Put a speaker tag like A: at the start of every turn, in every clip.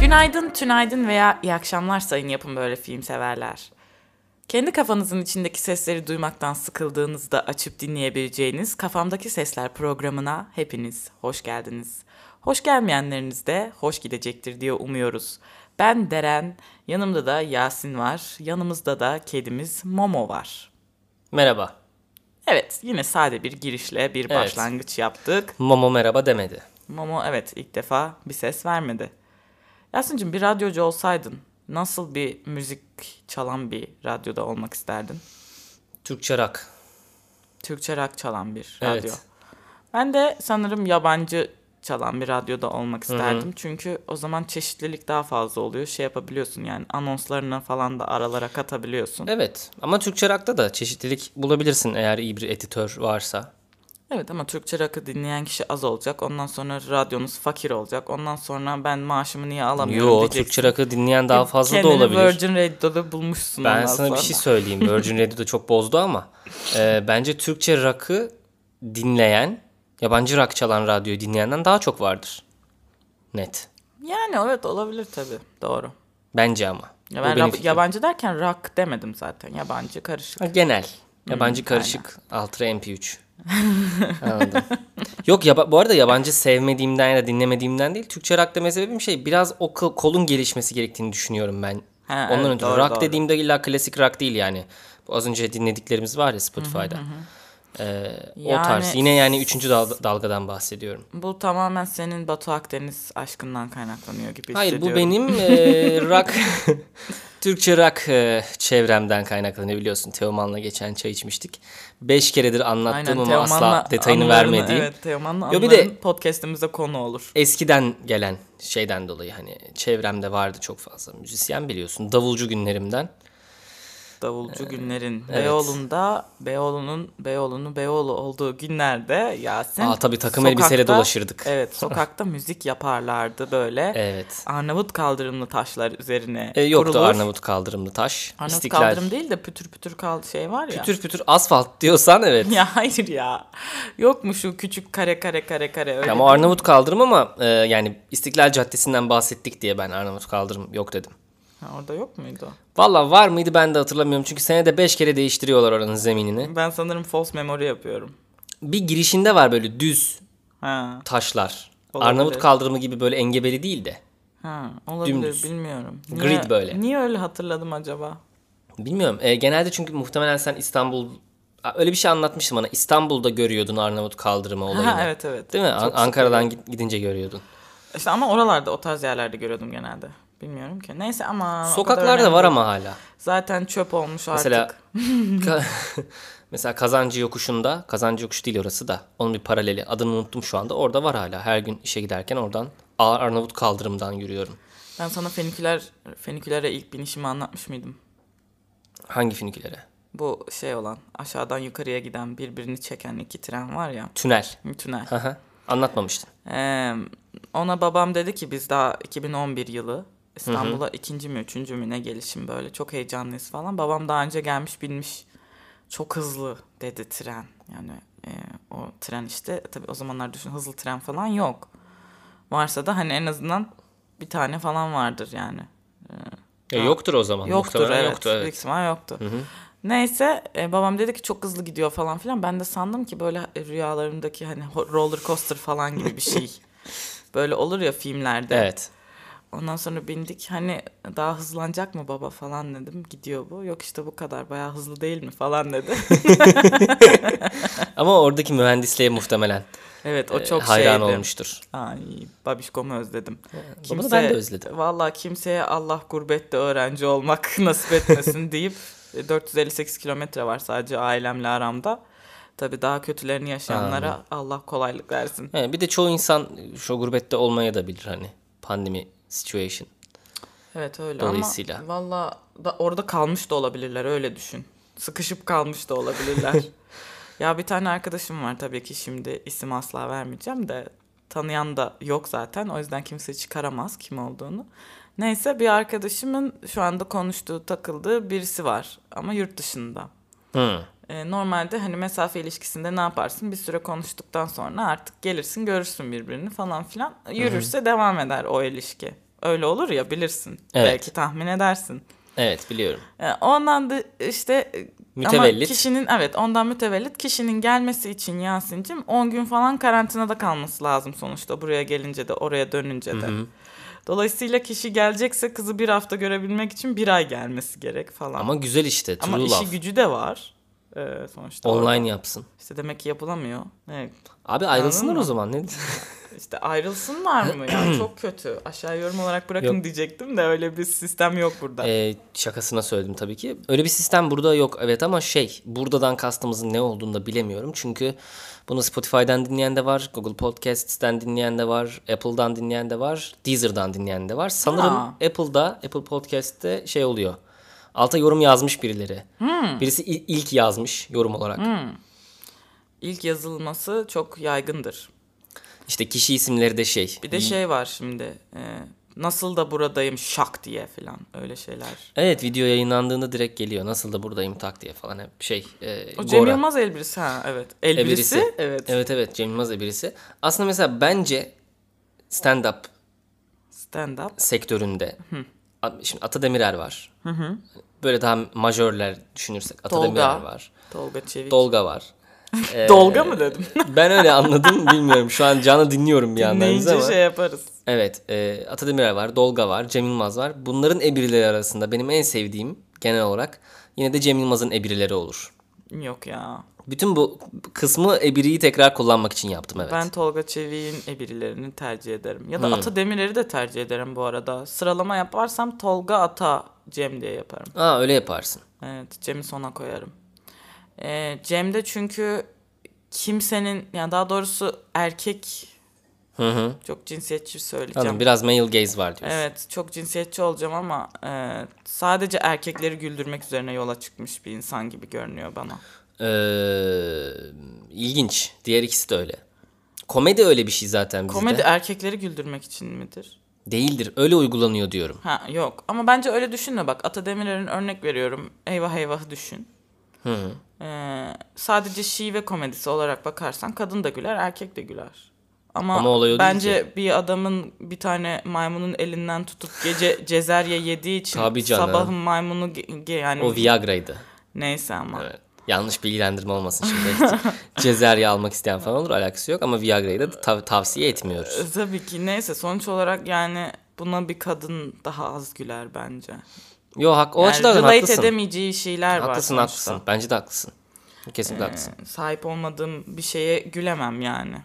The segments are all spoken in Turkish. A: Günaydın, tünaydın veya iyi akşamlar sayın yapın böyle film severler. Kendi kafanızın içindeki sesleri duymaktan sıkıldığınızda açıp dinleyebileceğiniz Kafamdaki Sesler programına hepiniz hoş geldiniz. Hoş gelmeyenleriniz de hoş gidecektir diye umuyoruz. Ben Deren, yanımda da Yasin var, yanımızda da kedimiz Momo var.
B: Merhaba.
A: Evet, yine sade bir girişle bir
B: Evet.
A: başlangıç yaptık.
B: Momo merhaba demedi.
A: Momo evet ilk defa bir ses vermedi. Yasin'cim bir radyocu olsaydın nasıl bir müzik çalan bir radyoda olmak isterdin?
B: Türkçe rock.
A: Türkçe rock çalan bir
B: Evet.
A: radyo. Ben de sanırım yabancı çalan bir radyoda olmak isterdim. Çünkü o zaman çeşitlilik daha fazla oluyor. Şey yapabiliyorsun yani anonslarına falan da aralara katabiliyorsun.
B: Evet ama Türkçe rock'ta da çeşitlilik bulabilirsin eğer iyi bir editör varsa.
A: Evet ama Türkçe rock'ı dinleyen kişi az olacak. Ondan sonra radyonuz fakir olacak. Ondan sonra ben maaşımı niye alamıyorum
B: Yo
A: diyeceksin.
B: Türkçe rock'ı dinleyen daha fazla
A: Kendini
B: da olabilir.
A: Virgin Radio'da bulmuşsun
B: ben
A: ondan
B: sana
A: sonra.
B: bir şey söyleyeyim. Virgin Radio da çok bozdu ama. e, bence Türkçe rock'ı dinleyen, yabancı rock çalan radyoyu dinleyenden daha çok vardır. Net.
A: Yani evet olabilir tabii. Doğru.
B: Bence ama.
A: Ya
B: Bu
A: ben
B: benim
A: rab-
B: fikrim.
A: yabancı derken rock demedim zaten. Yabancı karışık.
B: Ha, Genel.
A: Hmm,
B: Yabancı karışık. Altı MP3. Anladım. Yok ya bu arada yabancı sevmediğimden ya da dinlemediğimden değil. Türkçe rock deme sebebim şey biraz o kol- kolun gelişmesi gerektiğini düşünüyorum ben.
A: Ha,
B: Ondan
A: evet,
B: önce
A: doğru,
B: rock
A: doğru.
B: dediğimde illa klasik rock değil yani. Bu Az önce dinlediklerimiz var ya Spotify'da. Ee,
A: Yani-
B: o tarz. Yine yani üçüncü dal- dalgadan bahsediyorum.
A: Bu tamamen senin Batu Akdeniz aşkından kaynaklanıyor gibi
B: Hayır bu
A: hissediyorum.
B: benim e, rock Türkçe rock e, çevremden kaynaklanıyor biliyorsun. Teoman'la geçen çay içmiştik. Beş keredir anlattığım ama asla
A: Teoman'la
B: detayını
A: anılarını-
B: vermediğim.
A: Evet Teoman'la
B: Yo, bir
A: anıların
B: de-
A: podcastimizde konu olur.
B: Eskiden gelen şeyden dolayı hani çevremde vardı çok fazla müzisyen biliyorsun. Davulcu günlerimden.
A: Davulcu günlerin
B: Ee, evet.
A: Beyoğlu'nda Beyoğlu'nun Beyoğlu'nun Beyoğlu olduğu günlerde Yasin
B: Aa, tabii, takım elbiseyle dolaşırdık. Ee,
A: Evet sokakta müzik yaparlardı böyle.
B: Evet.
A: Arnavut kaldırımlı taşlar üzerine
B: E, yoktu
A: kurulur.
B: Arnavut kaldırımlı taş.
A: Arnavut
B: İstiklal.
A: kaldırım değil de pütür pütür kal şey var ya.
B: Pütür pütür asfalt diyorsan evet.
A: Ya hayır ya. Yok mu şu küçük kare kare kare kare öyle.
B: Ama Arnavut kaldırım ama e, yani İstiklal Caddesi'nden bahsettik diye ben Arnavut kaldırım yok dedim.
A: Ha, orada yok muydu?
B: Valla var mıydı ben de hatırlamıyorum. Çünkü senede 5 kere değiştiriyorlar oranın zeminini.
A: Ben sanırım false memory yapıyorum.
B: Bir girişinde var böyle düz
A: Ha,
B: taşlar.
A: Olabilir.
B: Arnavut kaldırımı gibi böyle engebeli değil de.
A: ha olabilir
B: Dümdüz.
A: bilmiyorum.
B: Grid böyle.
A: Niye öyle hatırladım acaba?
B: Bilmiyorum. E, genelde çünkü muhtemelen sen İstanbul... A, Öyle bir şey anlatmıştın bana. İstanbul'da görüyordun Arnavut kaldırımı olayını.
A: Ha, evet evet.
B: Değil mi? An-
A: Çok sık
B: Ankara'dan git- gidince görüyordun.
A: İşte ama oralarda o tarz yerlerde görüyordum genelde. Bilmiyorum ki. Neyse ama o kadar
B: Sokaklarda
A: önemli
B: var
A: değil.
B: ama hala.
A: Zaten çöp olmuş artık.
B: Mesela Ka- mesela Kazancı Yokuşu'nda, Kazancı Yokuşu değil orası da. Onun bir paraleli. Adını unuttum şu anda. Orada var hala. Her gün işe giderken oradan Ar- Arnavut kaldırımdan yürüyorum.
A: Ben sana feniküler fenikülere ilk binişimi anlatmış mıydım?
B: Hangi finikülere?
A: Bu şey olan aşağıdan yukarıya giden birbirini çeken iki tren var ya.
B: Tünel.
A: Tünel.
B: Hı hı. Anlatmamıştın.
A: Ee, ona babam dedi ki biz daha 2011 yılı İstanbul'a ikinci mi üçüncü mü ne gelişim böyle çok heyecanlıyız falan. Babam daha önce gelmiş binmiş çok hızlı dedi tren. Yani e, o tren işte tabii o zamanlar düşün hızlı tren falan yok. Varsa da hani en azından bir tane falan vardır yani.
B: Ya yoktur o zaman.
A: Yoktur
B: Muhtemelen
A: evet.
B: Yoktur,
A: Büyük
B: evet.
A: ihtimal yoktu. Neyse e, babam dedi ki çok hızlı gidiyor falan filan. Ben de sandım ki böyle e, rüyalarımdaki hani ho- roller coaster falan gibi bir şey. böyle olur ya filmlerde.
B: Evet.
A: Ondan sonra bindik hani daha hızlanacak mı baba falan dedim. Gidiyor bu. Yok işte bu kadar bayağı hızlı değil mi falan dedi.
B: Ama oradaki mühendisliğe muhtemelen
A: evet o
B: e,
A: çok
B: hayran
A: şeydi.
B: olmuştur.
A: Ay babişkomu özledim.
B: Babamı ben de özledim.
A: Valla kimseye Allah gurbette öğrenci olmak nasip etmesin deyip e, 458 kilometre var sadece ailemle aramda. Tabii daha kötülerini yaşayanlara Allah kolaylık versin.
B: He, bir de çoğu insan şu gurbette olmaya da bilir hani. Pandemi situation.
A: Evet öyle
B: Dolayısıyla.
A: ama valla da orada kalmış da olabilirler öyle düşün. Sıkışıp kalmış da olabilirler. ya bir tane arkadaşım var tabii ki şimdi isim asla vermeyeceğim de tanıyan da yok zaten. O yüzden kimse çıkaramaz kim olduğunu. Neyse bir arkadaşımın şu anda konuştuğu takıldığı birisi var ama yurt dışında.
B: Hı.
A: Ee, normalde hani mesafe ilişkisinde ne yaparsın? Bir süre konuştuktan sonra artık gelirsin görürsün birbirini falan filan. Yürürse devam eder o ilişki. Öyle olur ya bilirsin.
B: Evet.
A: Belki tahmin edersin.
B: Evet biliyorum.
A: E, Ondan da işte e,
B: Mütevellit.
A: ama kişinin evet ondan mütevellit kişinin gelmesi için Yasin'cim 10 gün falan karantinada kalması lazım sonuçta buraya gelince de oraya dönünce de. Dolayısıyla kişi gelecekse kızı bir hafta görebilmek için bir ay gelmesi gerek falan.
B: Ama güzel işte. True
A: Ama işi
B: love.
A: gücü de var e, sonuçta. orada.
B: Online yapsın.
A: İşte demek ki yapılamıyor. Evet.
B: Abi ayrılsınlar
A: mı?
B: o zaman. Ne?
A: İşte ayrılsınlar mı? Yani çok kötü. Aşağı yorum olarak bırakın
B: Yok.
A: diyecektim de öyle bir sistem yok burada.
B: Ee, şakasına söyledim tabii ki. Öyle bir sistem burada yok evet ama şey buradan kastımızın ne olduğunu da bilemiyorum. Çünkü bunu Spotify'dan dinleyen de var, Google Podcast'ten dinleyen de var, Apple'dan dinleyen de var, Deezer'dan dinleyen de var. Sanırım
A: Ha.
B: Apple'da, Apple Podcast'te şey oluyor. Alta yorum yazmış birileri.
A: Hmm,
B: Birisi il- ilk yazmış yorum olarak.
A: İlk yazılması çok yaygındır.
B: İşte kişi isimleri de şey.
A: Bir de şey var şimdi. e, nasıl da buradayım şak diye falan öyle şeyler.
B: Evet video yayınlandığında direkt geliyor. Nasıl da buradayım tak diye falan hep şey. E,
A: O Cem
B: Gora.
A: Yılmaz elbirisi ha evet. Elbirisi,
B: Ebirisi.
A: evet.
B: Evet evet Cem Yılmaz birisi. Aslında mesela bence stand up
A: Stand up.
B: sektöründe A- şimdi Atademirer var. Böyle daha majörler düşünürsek Atademirer
A: Tolga.
B: var.
A: Tolga Çevik.
B: Dolga var. Ee,
A: Dolga mı dedim?
B: ben öyle anladım bilmiyorum. Şu an canı dinliyorum bir yandan
A: Dinleyince
B: ama.
A: şey yaparız.
B: Evet, e, Atademirer var, Dolga var, Cem Yılmaz var. Bunların ebrileri arasında benim en sevdiğim genel olarak yine de Cem Yılmaz'ın ebrileri olur.
A: Yok ya.
B: Bütün bu kısmı ebriyi tekrar kullanmak için yaptım evet.
A: Ben Tolga Çevik'in ebirilerini tercih ederim. Ya da
B: Hmm.
A: Ata Demirer'i de tercih ederim bu arada. Sıralama yaparsam Tolga Ata Cem diye yaparım.
B: Aa öyle yaparsın.
A: Evet, Cem'i sona koyarım. Ee, Cem'de çünkü kimsenin, yani daha doğrusu erkek
B: Hı hı.
A: çok cinsiyetçi söyleyeceğim.
B: Anladım, biraz male gaze var diyorsun.
A: Evet, çok cinsiyetçi olacağım ama e, sadece erkekleri güldürmek üzerine yola çıkmış bir insan gibi görünüyor bana.
B: Ee, ilginç. Diğer ikisi de öyle. Komedi öyle bir şey zaten bizde.
A: Komedi erkekleri güldürmek için midir?
B: Değildir. Öyle uygulanıyor diyorum.
A: Ha yok. Ama bence öyle düşünme bak. Ata Demirer'in örnek veriyorum. Eyvah eyvah düşün.
B: Hı.
A: Ee, sadece şive komedisi olarak bakarsan kadın da güler, erkek de güler. Ama,
B: Ama olay o değil
A: bence bir adamın bir tane maymunun elinden tutup gece cezerye yediği için
B: Tabii canım.
A: sabahın maymunu ge- ge- yani
B: O Viagra'ydı.
A: neyse ama.
B: Evet. Yanlış bilgilendirme olmasın şimdi. Cezerye almak isteyen falan olur. Alakası yok ama Viagra'yı da tav- tavsiye etmiyoruz.
A: E, Tabii ki neyse sonuç olarak yani buna bir kadın daha az güler bence.
B: Yo hak o
A: Yani
B: açıdan
A: relate
B: haklısın.
A: edemeyeceği şeyler var.
B: Haklısın
A: sonuçta.
B: haklısın. Bence de haklısın. Kesinlikle haklısın.
A: E, Sahip olmadığım bir şeye gülemem yani.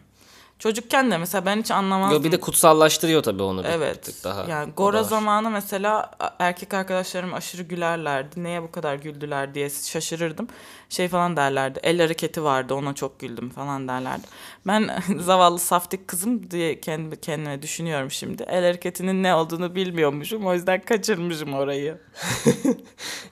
A: Çocukken de mesela ben hiç anlamazdım.
B: Yo, bir de kutsallaştırıyor tabii onu bir,
A: Evet.
B: bir tık daha.
A: Yani
B: O da
A: Gora
B: var.
A: zamanı mesela a- erkek arkadaşlarım aşırı gülerlerdi. Neye bu kadar güldüler diye şaşırırdım. Şey falan derlerdi. El hareketi vardı ona çok güldüm falan derlerdi. Ben zavallı saftik kızım diye kendi kendime düşünüyorum şimdi. El hareketinin ne olduğunu bilmiyormuşum. O yüzden kaçırmışım orayı.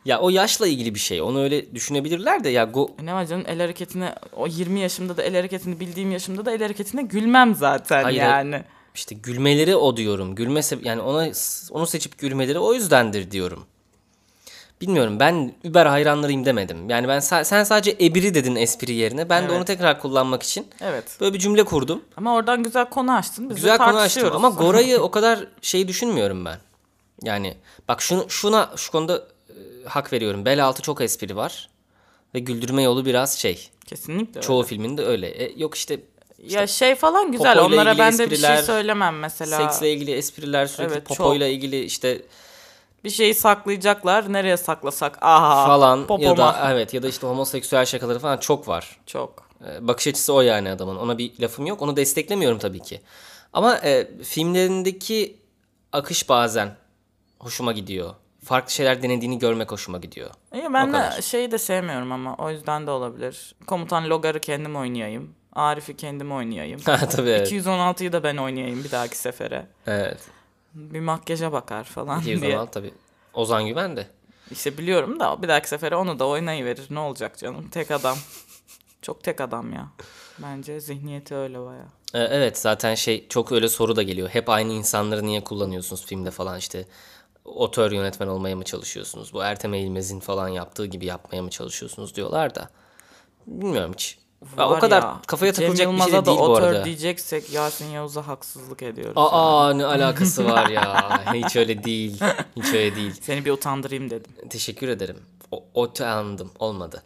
B: Ya o yaşla ilgili bir şey. Onu öyle düşünebilirler de ya go,
A: E Ne var canım el hareketine o 20 yaşımda da el hareketini bildiğim yaşımda da el hareketine gülmem zaten
B: Hayır,
A: yani.
B: İşte gülmeleri o diyorum. Gülme se- yani ona onu seçip gülmeleri o yüzdendir diyorum. Bilmiyorum ben Uber hayranlarıyım demedim. Yani ben sa- sen sadece ebiri dedin espri yerine. Ben de
A: Evet.
B: onu tekrar kullanmak için
A: Evet.
B: böyle bir cümle kurdum.
A: Ama oradan güzel konu açtın. Biz
B: Güzel
A: de
B: konu
A: tartışıyoruz.
B: açtım ama Gora'yı o kadar şey düşünmüyorum ben. Yani bak şunu şuna şu konuda e, hak veriyorum. Bel altı çok espri var ve güldürme yolu biraz şey.
A: Kesinlikle. öyle.
B: Çoğu filminde öyle. E, yok işte
A: Ya şey falan güzel.
B: popoyla
A: Onlara
B: ilgili
A: ben de bir şey
B: espriler,
A: söylemem mesela.
B: seksle ilgili espriler sürekli
A: Evet, çok.
B: popoyla ilgili işte
A: Bir şeyi saklayacaklar. Nereye saklasak? Aha.
B: falan ya
A: Ah, popoma.
B: da er- evet ya da işte homoseksüel şakaları falan çok var.
A: Çok.
B: Ee, Bakış açısı o yani adamın. Ona bir lafım yok. Onu desteklemiyorum tabii ki. Ama e, filmlerindeki akış bazen hoşuma gidiyor. Farklı şeyler denediğini görmek hoşuma gidiyor.
A: İyi
B: O
A: ben
B: kadar.
A: de şeyi de sevmiyorum ama o yüzden de olabilir. Komutan Logar'ı kendim oynayayım. Arif'i kendim oynayayım.
B: Ha tabii evet.
A: 216'yı da ben oynayayım bir dahaki sefere.
B: Evet.
A: Bir makyaja bakar falan diye.
B: 216 tabii. Ozan Güven de.
A: İşte biliyorum da bir dahaki sefere onu da oynayıverir. Ne olacak canım? Tek adam. Çok tek adam ya. Bence zihniyeti öyle baya.
B: Ee, evet zaten şey çok öyle soru da geliyor. Hep aynı insanları niye kullanıyorsunuz filmde falan işte. Otör yönetmen olmaya mı çalışıyorsunuz? Bu Ertem Eğilmez'in falan yaptığı gibi yapmaya mı çalışıyorsunuz diyorlar da. Bilmiyorum hiç. Aa, o
A: Var
B: kadar
A: ya,
B: kafaya
A: Cem
B: takılacak bir şey de
A: Yılmaz'a da
B: değil bu
A: otör
B: arada.
A: diyeceksek Yasin Yavuz'a haksızlık ediyoruz. yani.
B: Aa ne alakası var ya. Hiç öyle değil. Hiç öyle değil.
A: Seni bir utandırayım dedim.
B: Teşekkür ederim. O, otu aldım. Olmadı.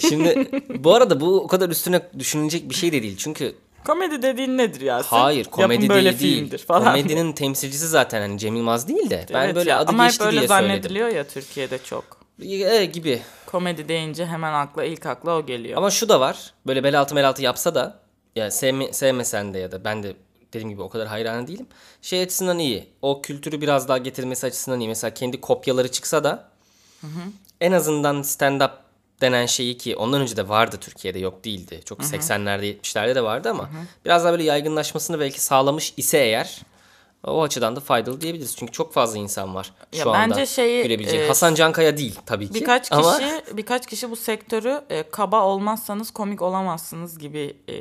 B: şimdi bu arada bu o kadar üstüne düşünülecek bir şey de değil. Çünkü
A: Komedi dediğin nedir ya? Sen
B: hayır
A: yapın
B: komedi
A: böyle
B: değil, değil.
A: filmdir falan.
B: Komedinin temsilcisi zaten hani Cem Yılmaz değil de. Ben
A: Evet
B: böyle
A: ya,
B: adı
A: Ama hep
B: geçti
A: böyle
B: diye söyledim.
A: zannediliyor ya Türkiye'de çok.
B: Ee, gibi.
A: Komedi deyince hemen akla ilk akla o geliyor.
B: Ama şu da var. Böyle bel altı mel altı yapsa da yani sevme, sevmesen de ya da ben de dediğim gibi o kadar hayranı değilim. Şey açısından iyi. O kültürü biraz daha getirmesi açısından iyi. Mesela kendi kopyaları çıksa da en azından stand up denen şeyi ki ondan önce de vardı Türkiye'de yok değildi. Çok 80'lerde 70'lerde de vardı ama biraz daha böyle yaygınlaşmasını belki sağlamış ise eğer o açıdan da faydalı diyebiliriz. Çünkü çok fazla insan var
A: Ya
B: şu anda
A: bence şeyi,
B: görebileceğin.
A: e,
B: Hasan Cankaya değil tabii ki.
A: birkaç kişi
B: ama
A: birkaç kişi bu sektörü e, kaba olmazsanız komik olamazsınız gibi e,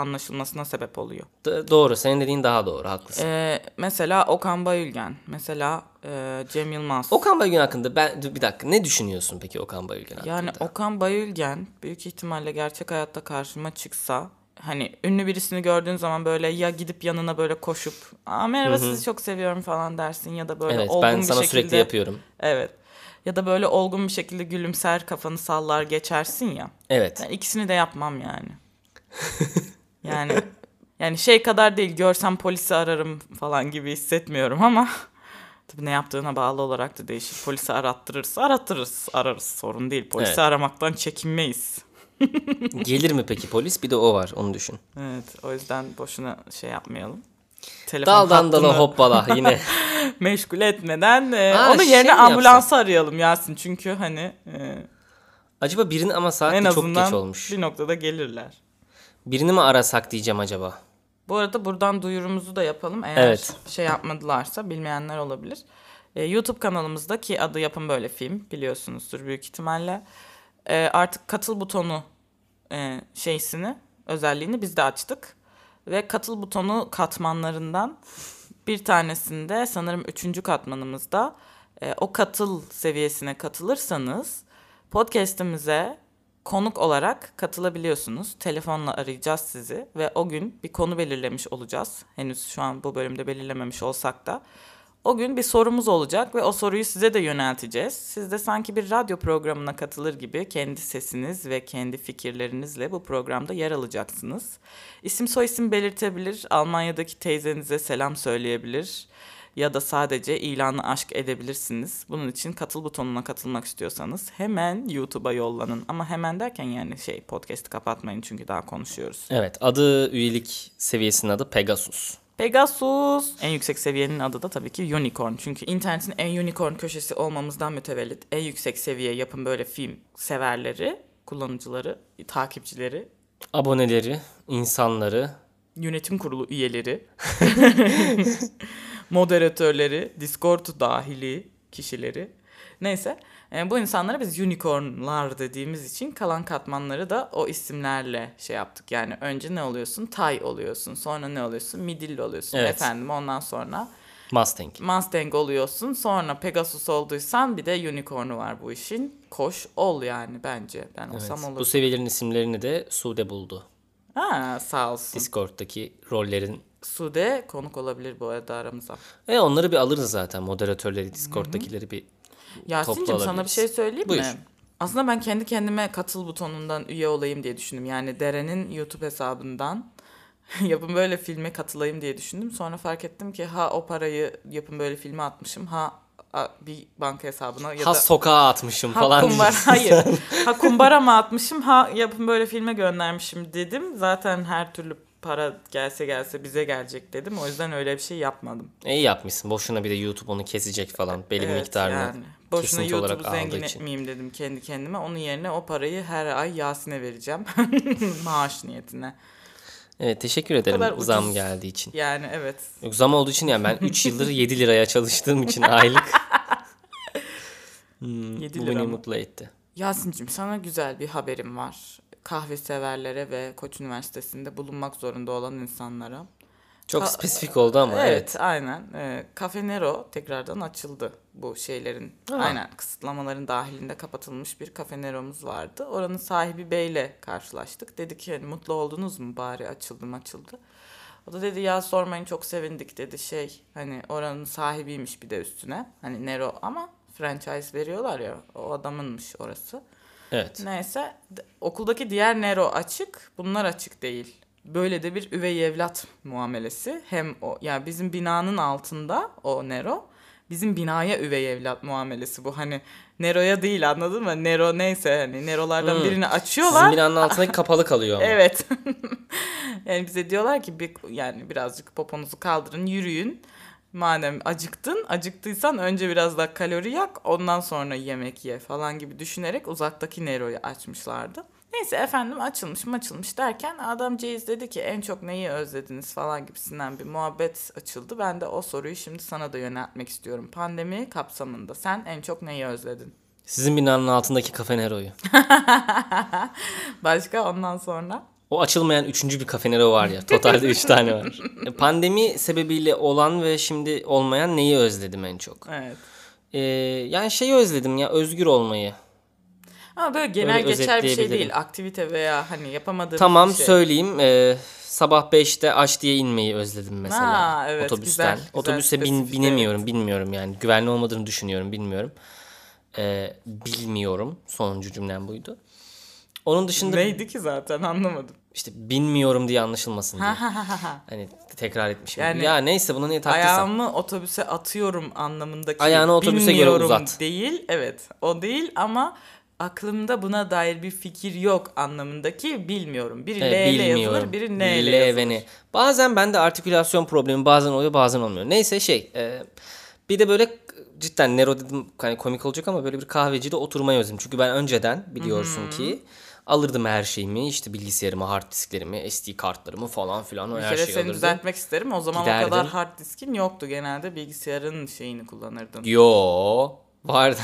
A: anlaşılmasına sebep oluyor.
B: d- doğru senin dediğin daha doğru haklısın.
A: E, mesela Okan Bayülgen, mesela e, Cem Yılmaz.
B: Okan Bayülgen hakkında ben dur bir dakika ne düşünüyorsun peki Okan Bayülgen hakkında?
A: yani Okan Bayülgen büyük ihtimalle gerçek hayatta karşıma çıksa hani ünlü birisini gördüğün zaman böyle ya gidip yanına böyle koşup Aa, merhaba sizi çok seviyorum falan dersin ya da böyle
B: evet
A: olgun
B: ben
A: bir
B: sana sürekli
A: şekilde-
B: yapıyorum.
A: Evet. Ya da böyle olgun bir şekilde gülümser kafanı sallar geçersin ya.
B: Evet.
A: Ben ikisini de yapmam yani. yani yani şey kadar değil görsem polisi ararım falan gibi hissetmiyorum ama tabii ne yaptığına bağlı olarak da değişir. Polisi arattırırsa arattırırız, ararız sorun değil. Polisi
B: Evet.
A: aramaktan çekinmeyiz.
B: Gelir mi peki polis? Bir de o var onu düşün.
A: Evet, o yüzden boşuna şey yapmayalım. Telefon
B: Daldan dala
A: hattını
B: hoppala yine.
A: meşgul etmeden e,
B: Aa,
A: onun
B: şey
A: yerine
B: mi yapsak?
A: ambulansı arayalım Yasin çünkü hani e,
B: Acaba birinin ama saat
A: en
B: de çok
A: azından
B: geç olmuş.
A: bir noktada gelirler.
B: Birini mi arasak diyeceğim acaba?
A: Bu arada buradan duyurumuzu da yapalım. Eğer
B: Evet.
A: şey yapmadılarsa bilmeyenler olabilir. Ee, YouTube kanalımızda ki adı Yapın Böyle Film biliyorsunuzdur büyük ihtimalle. Ee, artık katıl butonu e, şeysini özelliğini biz de açtık. Ve katıl butonu katmanlarından bir tanesinde sanırım üçüncü katmanımızda e, o katıl seviyesine katılırsanız podcast'imize konuk olarak katılabiliyorsunuz. Telefonla arayacağız sizi ve o gün bir konu belirlemiş olacağız. Henüz şu an bu bölümde belirlememiş olsak da. O gün bir sorumuz olacak ve o soruyu size de yönelteceğiz. Siz de sanki bir radyo programına katılır gibi kendi sesiniz ve kendi fikirlerinizle bu programda yer alacaksınız. İsim soyisim belirtebilir, Almanya'daki teyzenize selam söyleyebilir ya da sadece ilanı aşk edebilirsiniz. Bunun için katıl butonuna katılmak istiyorsanız hemen YouTube'a yollanın. Ama hemen derken yani şey podcast'i kapatmayın çünkü daha konuşuyoruz.
B: Evet adı üyelik seviyesinin adı Pegasus.
A: Pegasus en yüksek seviyenin adı da tabii ki unicorn. Çünkü internetin en unicorn köşesi olmamızdan mütevellit en yüksek seviye yapın böyle film severleri, kullanıcıları, takipçileri,
B: Aboneleri, insanları,
A: yönetim kurulu üyeleri, moderatörleri, Discord dahili kişileri. Neyse e, bu insanlara biz unicornlar dediğimiz için kalan katmanları da o isimlerle şey yaptık. Yani önce ne oluyorsun? Tay oluyorsun. Sonra ne oluyorsun? Midilli oluyorsun.
B: Evet.
A: Efendim ondan sonra
B: Mustang.
A: Mustang oluyorsun. Sonra Pegasus olduysan bir de unicorn'u var bu işin. Koş ol yani bence. Ben
B: Evet.
A: olsam
B: Bu
A: olur.
B: seviyelerin isimlerini de Sude buldu.
A: Ha sağ olsun.
B: Discord'daki rollerin.
A: Sude konuk olabilir bu arada aramıza.
B: E onları bir alırız zaten moderatörleri, Discord'dakileri bir
A: Yasin'cim
B: Toplu
A: sana bir
B: alabiliriz.
A: şey söyleyeyim
B: Buyur.
A: mi? Aslında ben kendi kendime katıl butonundan üye olayım diye düşündüm. Yani Deren'in YouTube hesabından yapın böyle filme katılayım diye düşündüm. Sonra fark ettim ki ha o parayı yapın böyle filme atmışım. Ha a- bir banka hesabına ya
B: ha
A: da
B: sokağa atmışım
A: ha
B: falan.
A: kumbara
B: diyeceksin.
A: hayır. ha kumbara mı atmışım ha yapın böyle filme göndermişim dedim. Zaten her türlü para gelse gelse bize gelecek dedim. O yüzden öyle bir şey yapmadım.
B: İyi E, yapmışsın. Boşuna bir de YouTube onu kesecek falan. Belli bir
A: Evet,
B: miktarını.
A: yani. Boşuna
B: kesinti olarak
A: YouTube'u
B: aldığı
A: zengin
B: için.
A: etmeyeyim dedim kendi kendime. Onun yerine o parayı her ay Yasin'e vereceğim. Maaş niyetine.
B: Evet teşekkür ederim
A: kadar ucuz.
B: zam geldiği için.
A: Yani evet.
B: Yok zam olduğu için yani ben 3 yıldır 7 liraya çalıştığım için aylık. Hmm,
A: 7
B: bu
A: lira
B: beni
A: mı?
B: mutlu etti.
A: Yasin'cim sana güzel bir haberim var. Kahve severlere ve Koç Üniversitesi'nde bulunmak zorunda olan insanlara.
B: Çok
A: Ka-
B: spesifik oldu ama
A: Evet,
B: evet.
A: aynen. Ee, Cafe Nero tekrardan açıldı. bu şeylerin
B: Ha.
A: aynen kısıtlamaların dahilinde kapatılmış bir kafeneromuz vardı. Oranın sahibi beyle karşılaştık. Dedi ki hani mutlu oldunuz mu bari açıldım açıldı. O da dedi ya sormayın çok sevindik dedi şey hani oranın sahibiymiş bir de üstüne. Hani Nero ama franchise veriyorlar ya o adamınmış orası.
B: Evet.
A: Neyse d- okuldaki diğer Nero açık, bunlar açık değil. Böyle de bir üvey evlat muamelesi. Hem o yani bizim binanın altında o Nero bizim binaya üvey evlat muamelesi bu hani Nero'ya değil anladın mı? Nero neyse hani Nero'lardan
B: Hmm.
A: birini
B: Sizin
A: açıyorlar.
B: binanın altındaki kapalı kalıyor ama.
A: Evet. yani bize diyorlar ki bir, yani birazcık poponuzu kaldırın, yürüyün. Madem acıktın, acıktıysan önce biraz daha kalori yak, ondan sonra yemek ye falan gibi düşünerek uzaktaki Nero'yu açmışlardı. Neyse efendim açılmış mı açılmış derken adamcağız dedi ki en çok neyi özlediniz falan gibisinden bir muhabbet açıldı. Ben de o soruyu şimdi sana da yöneltmek istiyorum. Pandemi kapsamında sen en çok neyi özledin?
B: Sizin binanın altındaki kafeneroyu.
A: Başka ondan sonra?
B: O açılmayan üçüncü bir kafenero var ya. Totalde üç tane var. E, Pandemi sebebiyle olan ve şimdi olmayan neyi özledim en çok?
A: Evet.
B: E, yani şeyi özledim ya özgür olmayı.
A: Ama böyle genel
B: Öyle
A: geçer bir şey
B: özetleyebilirim.
A: değil. Aktivite veya hani yapamadığımız
B: Tamam
A: bir şey.
B: söyleyeyim. E, sabah 5'te aç diye inmeyi özledim mesela.
A: Ha, evet,
B: Otobüsten.
A: güzel, güzel,
B: Otobüse bin-
A: spesifik,
B: binemiyorum bilmiyorum yani. Güvenli olmadığını düşünüyorum bilmiyorum. E, bilmiyorum. Sonuncu cümlem buydu. Onun dışında
A: Neydi ki zaten anlamadım.
B: işte bilmiyorum diye anlaşılmasın diye. Hani tekrar etmişim.
A: Yani
B: ya neyse buna niye taktıysam.
A: Ayağımı otobüse atıyorum anlamındaki
B: Ayağını otobüse göre
A: bilmiyorum
B: uzat.
A: değil. Evet o değil ama aklımda buna dair bir fikir yok anlamındaki bilmiyorum. Biri
B: E,
A: L ile
B: bilmiyorum.
A: yazılır biri N ile
B: L ve
A: yazılır.
B: N. Bazen bende artikülasyon problemi bazen oluyor bazen olmuyor. Neyse şey e, bir de böyle cidden Nero dedim hani komik olacak ama böyle bir kahvecide oturmayı özledim. Çünkü ben önceden biliyorsun ki alırdım her şeyimi işte bilgisayarımı, hard disklerimi, SD kartlarımı falan filan o
A: Bir
B: her şey
A: kere
B: şeyi
A: seni
B: alırdım.
A: düzeltmek isterim. O zaman o
B: Giderdim.
A: kadar hard diskin yoktu. Genelde bilgisayarın şeyini kullanırdın.
B: Yo vardı.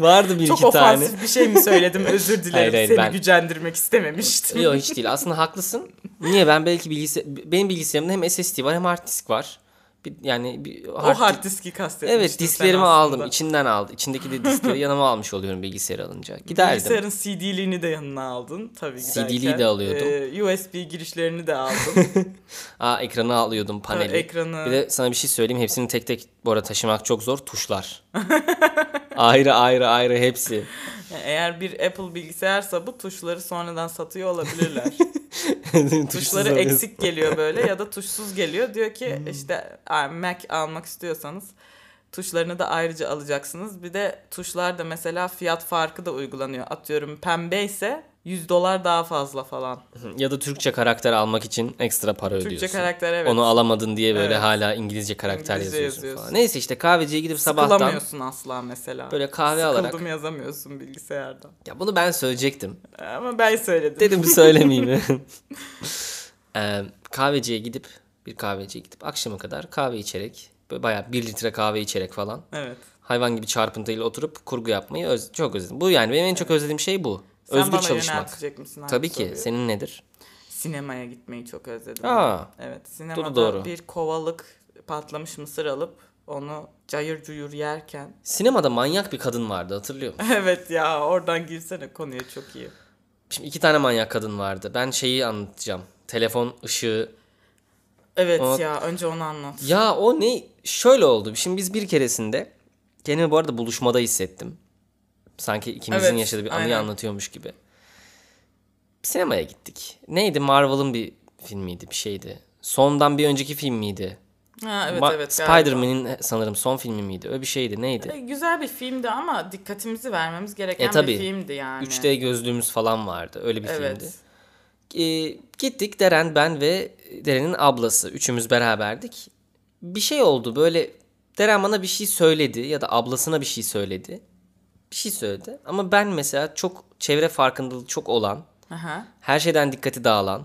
B: vardı bir
A: Çok
B: iki tane.
A: ofansif bir şey mi söyledim? Özür dilerim.
B: Hayır, hayır,
A: Seni
B: ben-
A: gücendirmek istememiştim.
B: Yok hiç değil. Aslında haklısın. Niye ben belki bilgisayar benim bilgisayarımda hem SSD var hem hard disk var. Bir, yani bir
A: o hard diski kastetmiştim.
B: Evet disklerimi aldım. içinden aldım. İçindeki de diskleri yanıma almış oluyorum bilgisayar alınca. Giderdim.
A: Bilgisayarın CD'liğini de yanına aldın tabii giderken.
B: CD'liği de alıyordum.
A: Ee, USB girişlerini de aldın.
B: Aa ekranı alıyordum paneli.
A: Tabii, ekranı.
B: Hani Bir de sana bir şey söyleyeyim. Hepsini tek tek bu arada taşımak çok zor. Tuşlar. ayrı ayrı ayrı hepsi.
A: Yani eğer bir Apple bilgisayarsa bu tuşları sonradan satıyor olabilirler.
B: Tuşsuz Hmm.
A: Tuşları
B: oluyorsun.
A: eksik geliyor böyle ya da tuşsuz geliyor. Diyor ki işte "Aa, Mac almak istiyorsanız tuşlarını da ayrıca alacaksınız. Bir de tuşlarda mesela fiyat farkı da uygulanıyor. Atıyorum pembe ise 100 dolar daha fazla falan.
B: Ya da Türkçe karakter almak için ekstra para ödüyorsun.
A: Türkçe karakter evet.
B: Onu alamadın diye böyle
A: Evet.
B: hala İngilizce karakter
A: İngilizce
B: yazıyorsun,
A: yazıyorsun.
B: falan. Neyse işte kahveciye gidip sabahtan
A: Sıkılamıyorsun asla mesela.
B: böyle kahve alarak.
A: Sıkıldım yazamıyorsun bilgisayardan.
B: Ya bunu ben söyleyecektim.
A: Ama ben söyledim.
B: Dedim söylemeyeyim. Ee, kahveciye gidip bir kahveciye gidip akşama kadar kahve içerek böyle bayağı bir litre kahve içerek falan
A: Evet.
B: hayvan gibi çarpıntıyla oturup kurgu yapmayı öz- çok özledim. Bu yani benim en çok özlediğim şey bu.
A: Sen
B: Özgür
A: bana
B: çalışmak.
A: yöneltecek misin? hangi
B: Tabii ki.
A: soruyu?
B: Senin nedir?
A: Sinemaya gitmeyi çok özledim.
B: Aa.
A: Evet. Sinemada
B: doğru.
A: bir kovalık patlamış mısır alıp onu cayır cuyur yerken.
B: Sinemada manyak bir kadın vardı hatırlıyor musun?
A: evet ya oradan girsene konuya çok iyi.
B: Şimdi iki tane manyak kadın vardı. Ben şeyi anlatacağım. Telefon ışığı
A: Evet
B: O-
A: ya önce onu anlat.
B: Ya o ne? Şöyle oldu. Şimdi biz bir keresinde kendimi bu arada buluşmada hissettim. Sanki ikimizin
A: Evet,
B: yaşadığı bir anıyı
A: aynen.
B: anlatıyormuş gibi. Sinemaya gittik. Neydi? Marvel'ın bir filmiydi, bir şeydi. Sondan bir önceki film miydi?
A: Ha, evet
B: Ma-
A: evet. galiba.
B: Spider-Man'in sanırım son filmi miydi? Öyle bir şeydi. Neydi?
A: E, Güzel bir filmdi ama dikkatimizi vermemiz gereken
B: E, tabii.
A: bir filmdi yani.
B: 3D gözlüğümüz falan vardı. Öyle bir filmdi.
A: Evet.
B: e, gittik Deren ben ve Deren'in ablası üçümüz beraberdik. Bir şey oldu böyle Deren bana bir şey söyledi ya da ablasına bir şey söyledi. Bir şey söyledi ama ben mesela çok çevre farkındalığı çok olan
A: Aha.
B: her şeyden dikkati dağılan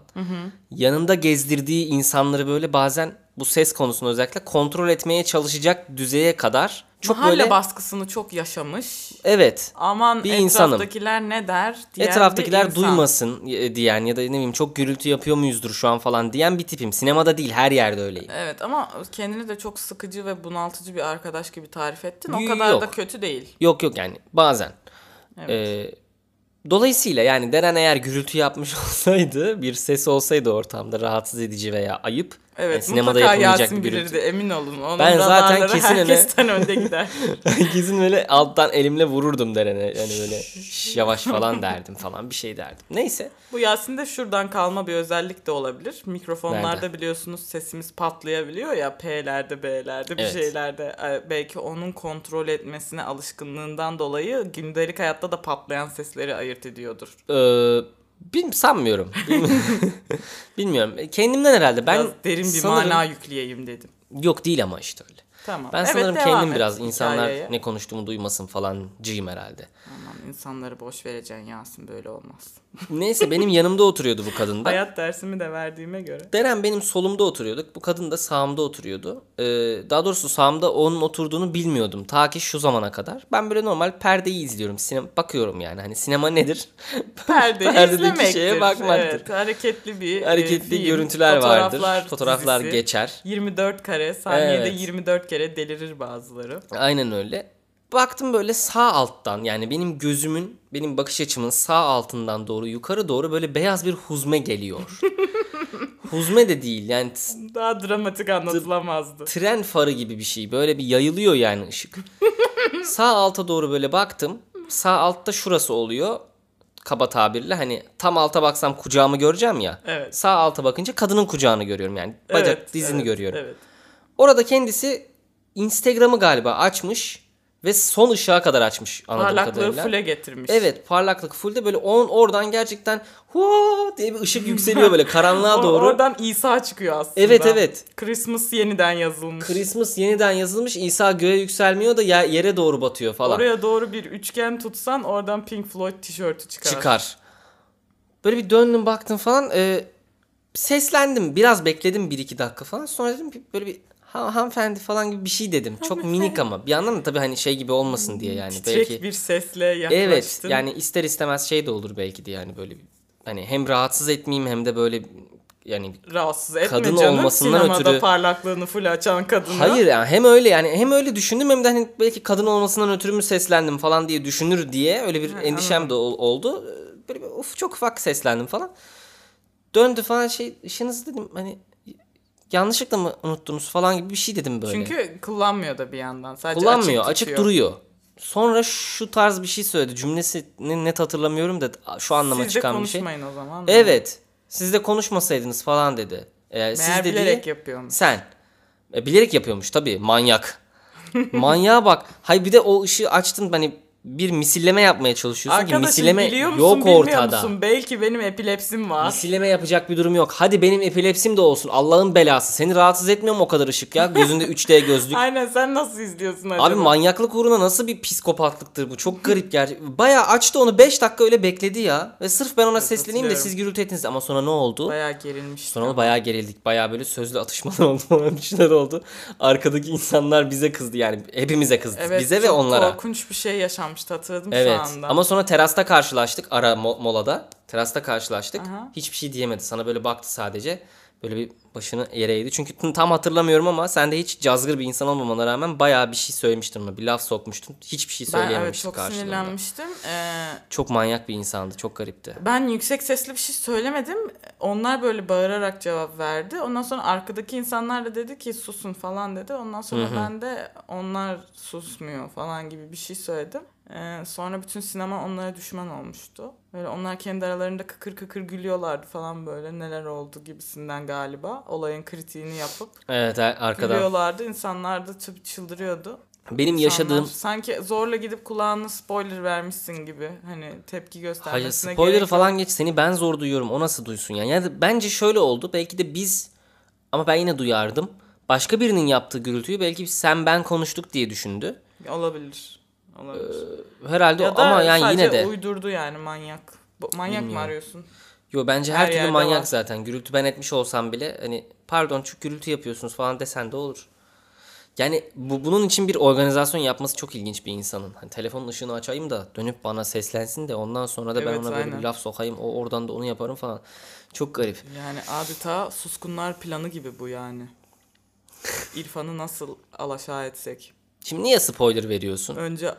B: yanında gezdirdiği insanları böyle bazen bu ses konusunu özellikle kontrol etmeye çalışacak düzeye kadar Çok
A: Mahalle
B: böyle
A: baskısını çok yaşamış.
B: evet.
A: Aman
B: Bir insanım.
A: etraftakiler ne der? diyen bir
B: Etraftakiler
A: insan.
B: duymasın e, diyen ya da ne bileyim çok gürültü yapıyor muyuzdur şu an falan diyen bir tipim. Sinemada değil her yerde öyleyim.
A: Evet ama kendini de çok sıkıcı ve bunaltıcı bir arkadaş gibi tarif ettin.
B: Y-
A: O kadar da
B: yok.
A: kötü değil.
B: Yok yok yani bazen.
A: Evet.
B: Ee, dolayısıyla yani Deren eğer gürültü yapmış olsaydı bir ses olsaydı ortamda rahatsız edici veya ayıp. yani
A: Evet
B: E, sinemada
A: mutlaka
B: yapılmayacak
A: Yasin
B: bir gürültü.
A: bilirdi emin olun. Onun ben
B: Ben zaten
A: zaten
B: kesin öyle-
A: herkesten önde gider.
B: Kesin böyle alttan elimle vururdum Deren'e. Yani böyle "Şş, yavaş falan derdim falan bir şey derdim. Neyse.
A: Bu Yasin'de şuradan kalma bir özellik de olabilir. Mikrofonlarda
B: Nerede?
A: biliyorsunuz sesimiz patlayabiliyor ya P'lerde, B'lerde bir
B: Evet.
A: şeylerde. Ee, Belki onun kontrol etmesine alışkınlığından dolayı gündelik hayatta da patlayan sesleri ayırt ediyordur.
B: Ee, bilmiyorum sanmıyorum. Bilmiyorum. Bilmiyorum. Kendimden herhalde. Ben
A: Biraz derin bir
B: sanırım-
A: mana yükleyeyim dedim.
B: Yok değil ama işte öyle.
A: Tamam.
B: Ben
A: Evet,
B: sanırım
A: devam
B: kendim
A: et
B: biraz insanlar
A: hikayeye.
B: ne konuştuğumu duymasın falan cıyım herhalde.
A: Aman insanları boş vereceksin Yasin böyle olmaz.
B: Neyse benim yanımda oturuyordu bu kadın da.
A: Hayat dersimi de verdiğime göre.
B: Deren benim solumda oturuyorduk. Bu kadın da sağımda oturuyordu. Ee, daha doğrusu sağımda onun oturduğunu bilmiyordum. Ta ki şu zamana kadar. Ben böyle normal perdeyi izliyorum. Sinema, bakıyorum yani. Hani sinema nedir?
A: Perdeyi
B: Perdedeki
A: izlemektir.
B: şeye bakmaktır.
A: Evet, hareketli bir e,
B: Hareketli
A: film,
B: görüntüler vardır.
A: fotoğraflar
B: Fotoğraflar
A: dizisi.
B: geçer.
A: 24 kare. Saniyede
B: Evet.
A: 24 kere delirir bazıları.
B: Aynen öyle. Baktım böyle sağ alttan yani benim gözümün, benim bakış açımın sağ altından doğru yukarı doğru böyle beyaz bir huzme geliyor. huzme de değil yani t-
A: Daha dramatik anlatılamazdı.
B: tren farı gibi bir şey. Böyle bir yayılıyor yani ışık. Sağ alta doğru böyle baktım. Sağ altta şurası oluyor. Kaba tabirle hani tam alta baksam kucağımı göreceğim ya.
A: Evet.
B: Sağ alta bakınca kadının kucağını görüyorum yani. Bacak
A: Evet,
B: dizini
A: evet,
B: görüyorum.
A: Evet.
B: Orada kendisi Instagram'ı galiba açmış ve son ışığa kadar açmış anladığım
A: Parlaklığı
B: kadarıyla.
A: full'e getirmiş.
B: Evet parlaklık full'de böyle on, oradan gerçekten huo diye bir ışık yükseliyor böyle karanlığa
A: O-
B: doğru.
A: Oradan İsa çıkıyor aslında.
B: Evet, evet.
A: Christmas yeniden yazılmış.
B: Christmas yeniden yazılmış İsa göğe yükselmiyor da ye- yere doğru batıyor falan.
A: Oraya doğru bir üçgen tutsan oradan Pink Floyd tişörtü çıkar.
B: Çıkar. Böyle bir döndüm baktım falan. e, seslendim biraz bekledim 1-2 dakika falan. Sonra dedim ki böyle bir ha, hanımefendi falan gibi bir şey dedim. Çok minik ama bir yandan da tabii hani şey gibi olmasın diye yani.
A: Titrek
B: belki
A: bir sesle yaklaştın.
B: Evet yani ister istemez şey de olur belki de yani böyle bir- hani hem rahatsız etmeyeyim hem de böyle yani
A: Rahatsız etme
B: Kadın
A: canım.
B: olmasından
A: Sinemada
B: ötürü-
A: parlaklığını full açan kadına.
B: hayır yani hem öyle yani hem öyle düşündüm hem de hani belki kadın olmasından ötürü mü seslendim falan diye düşünür diye öyle bir endişem de ol- oldu. Ee, Böyle bir, of çok ufak seslendim falan. Döndü falan şey ışınızı dedim hani yanlışlıkla mı unuttunuz falan gibi bir şey dedim böyle.
A: Çünkü kullanmıyor da bir yandan. Sadece
B: Kullanmıyor. Açık,
A: açık, duruyor.
B: duruyor. Sonra şu tarz bir şey söyledi. Cümlesini net hatırlamıyorum da şu anlama
A: Siz de
B: çıkan bir şey.
A: konuşmayın o zaman.
B: Evet. Siz de konuşmasaydınız falan dedi. Ee, siz
A: Meğer
B: dediği
A: bilerek yapıyormuş.
B: sen. E, bilerek yapıyormuş tabii manyak. Manyağa bak. Hay bir de o ışığı açtın hani bir misilleme yapmaya çalışıyorsun ki
A: Arkadaşım
B: misilleme
A: biliyor musun
B: yok
A: bilmiyor
B: ortada.
A: musun? Belki benim epilepsim var.
B: Misilleme yapacak bir durum yok. Hadi benim epilepsim de olsun. Allah'ın belası. Seni rahatsız etmiyor mu o kadar ışık ya? Gözünde 3D gözlük.
A: Aynen sen nasıl izliyorsun acaba?
B: Abi manyaklık uğruna nasıl bir psikopatlıktır bu? Çok garip gerçi. Bayağı açtı onu 5 dakika öyle bekledi ya. Ve sırf ben ona sesleneyim de
A: hatırlıyorum.
B: siz gürültü ettiniz. Ama sonra ne oldu?
A: Bayağı gerilmiş.
B: Sonra da bayağı gerildik. Bayağı böyle sözlü atışmalar oldu falan bir şeyler oldu. Arkadaki insanlar bize kızdı yani hepimize kızdı.
A: Evet,
B: bize ve
A: çok
B: onlara.
A: korkunç bir şey yaşanmıştı hatırladım
B: evet.
A: şu anda.
B: Ama sonra terasta karşılaştık ara mo- molada. Terasta karşılaştık.
A: Aha.
B: Hiçbir şey diyemedi. Sana böyle baktı sadece. Böyle bir başını yere eğdi. Çünkü t- tam hatırlamıyorum ama sen de hiç cazgır bir insan olmamana rağmen bayağı bir şey söylemiştin ona. Bir laf sokmuştun. Hiçbir şey
A: ben evet
B: söyleyememiştin
A: çok
B: karşılığında.
A: sinirlenmiştim. Ee,
B: Çok manyak bir insandı. Çok garipti.
A: ben yüksek sesli bir şey söylemedim. Onlar böyle bağırarak cevap verdi. Ondan sonra arkadaki insanlar da dedi ki susun falan dedi. Ondan sonra ben de onlar susmuyor falan gibi bir şey söyledim. Ee, sonra bütün sinema onlara düşman olmuştu. Böyle onlar kendi aralarında kıkır kıkır gülüyorlardı falan böyle neler oldu gibisinden galiba. Olayın kritiğini yapıp
B: Evet a- arkadan.
A: gülüyorlardı. İnsanlar da tüp çıldırıyordu.
B: Benim yaşadığım
A: İnsanlar sanki zorla gidip kulağına spoiler vermişsin gibi hani tepki
B: Hayır
A: göstermesine
B: spoiler'ı
A: gerek yok.
B: falan geç seni ben zor duyuyorum o nasıl duysun yani. yani bence şöyle oldu belki de biz ama ben yine duyardım. Başka birinin yaptığı gürültüyü belki sen ben konuştuk diye düşündü.
A: Olabilir. Olabilir.
B: Herhalde
A: ya
B: o-
A: da
B: Ee, ama yani
A: sadece
B: yine de.
A: uydurdu yani manyak. Bu- Manyak mı
B: Bilmiyorum.
A: arıyorsun?
B: Yo bence her,
A: Her
B: türlü
A: yerde
B: manyak
A: var.
B: zaten. Gürültü ben etmiş olsam bile hani pardon çok gürültü yapıyorsunuz falan desen de olur. Yani bu, bunun için bir organizasyon yapması çok ilginç bir insanın. Hani telefonun ışığını açayım da dönüp bana seslensin de ondan sonra da ben
A: Evet,
B: ona böyle bir
A: aynen.
B: laf sokayım. O oradan da onu yaparım falan. Çok garip.
A: Yani adeta suskunlar planı gibi bu yani. İrfan'ı nasıl alaşağı etsek?
B: Şimdi niye spoiler veriyorsun?
A: Önce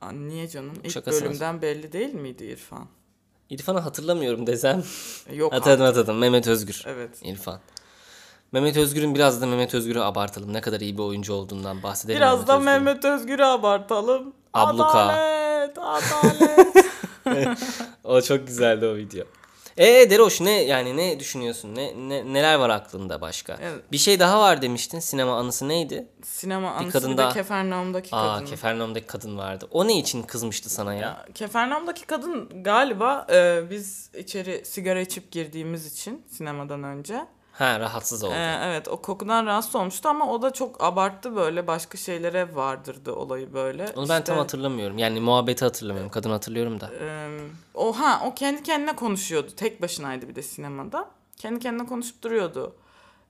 A: Aa, niye canım? İlk
B: Şakasına
A: bölümden belli değil miydi İrfan? E,
B: İrfan'ı hatırlamıyorum desem.
A: Yok.
B: Atadım atadım. Mehmet Özgür.
A: Evet.
B: İrfan. Mehmet Özgür'ün biraz da Mehmet Özgür'ü abartalım. Ne kadar iyi bir oyuncu olduğundan bahsedelim.
A: Biraz da
B: Özgür'ün.
A: Mehmet Özgür'ü abartalım.
B: Abluka.
A: Adalet, adalet.
B: O çok güzeldi o video. Ee Deroş ne yani ne düşünüyorsun? Ne, ne neler var aklında başka?
A: Evet.
B: Bir şey daha var demiştin. Sinema anısı neydi?
A: Sinema anısı
B: kadın
A: bir
B: daha.
A: de Kefernaum'daki
B: Aa
A: kadın.
B: Kefernaum'daki kadın vardı. O ne için kızmıştı sana ya?
A: Kefernaum'daki kadın galiba e, biz içeri sigara içip girdiğimiz için sinemadan önce.
B: Ha rahatsız oldu.
A: E, evet o kokudan rahatsız olmuştu ama o da çok abarttı böyle başka şeylere vardırdı olayı böyle.
B: Onu ben tam
A: İşte,
B: hatırlamıyorum. Yani muhabbeti hatırlamıyorum. Kadın hatırlıyorum da.
A: e, o ha o kendi kendine konuşuyordu. Tek başınaydı bir de sinemada. Kendi kendine konuşup duruyordu.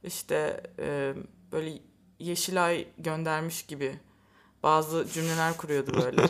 A: İşte e, böyle Yeşilay göndermiş gibi bazı cümleler kuruyordu böyle.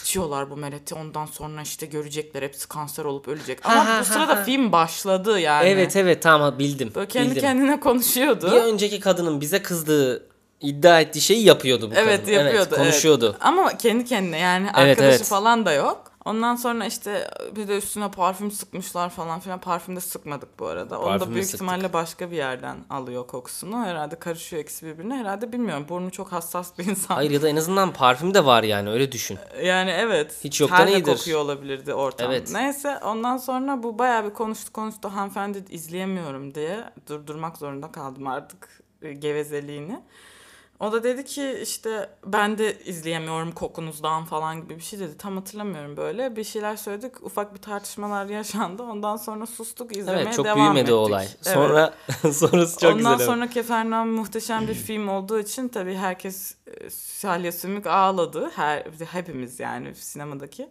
A: İçiyorlar bu meleti ondan sonra işte görecekler hepsi kanser olup ölecek. Ama
B: Ha, ha,
A: bu
B: ha,
A: sırada
B: ha.
A: film başladı yani.
B: Evet evet tamam bildim.
A: Böyle kendi
B: bildim.
A: kendine konuşuyordu.
B: Bir önceki kadının bize kızdığı iddia ettiği şeyi yapıyordu bu
A: Evet,
B: kadın.
A: yapıyordu, evet.
B: konuşuyordu.
A: Ama kendi kendine yani
B: Evet,
A: arkadaşı
B: evet.
A: falan da yok. Ondan sonra işte bir de üstüne parfüm sıkmışlar falan filan. Parfüm de sıkmadık bu arada. Onu da
B: Parfümü
A: büyük
B: sıktık.
A: ihtimalle başka bir yerden alıyor kokusunu. Herhalde karışıyor ikisi birbirine. Herhalde bilmiyorum. Burnu çok hassas bir insan.
B: Hayır ya da en azından parfüm de var yani öyle düşün.
A: Yani evet.
B: Hiç yoktan
A: terle
B: iyidir.
A: kokuyor olabilirdi ortam.
B: Evet.
A: Neyse ondan sonra bu bayağı bir konuştu konuştu hanımefendi izleyemiyorum diye durdurmak zorunda kaldım artık e, gevezeliğini. O da dedi ki işte ben de izleyemiyorum kokunuzdan falan gibi bir şey dedi. Tam hatırlamıyorum böyle. Bir şeyler söyledik. Ufak bir tartışmalar yaşandı. Ondan sonra sustuk izlemeye
B: Evet çok
A: devam
B: büyümedi
A: ettik.
B: o olay.
A: Evet.
B: Sonra sonrası çok
A: Ondan
B: güzel. ama.
A: sonra Kefernan muhteşem bir film olduğu için tabii herkes e, salya sümük ağladı. Her, hepimiz yani sinemadaki.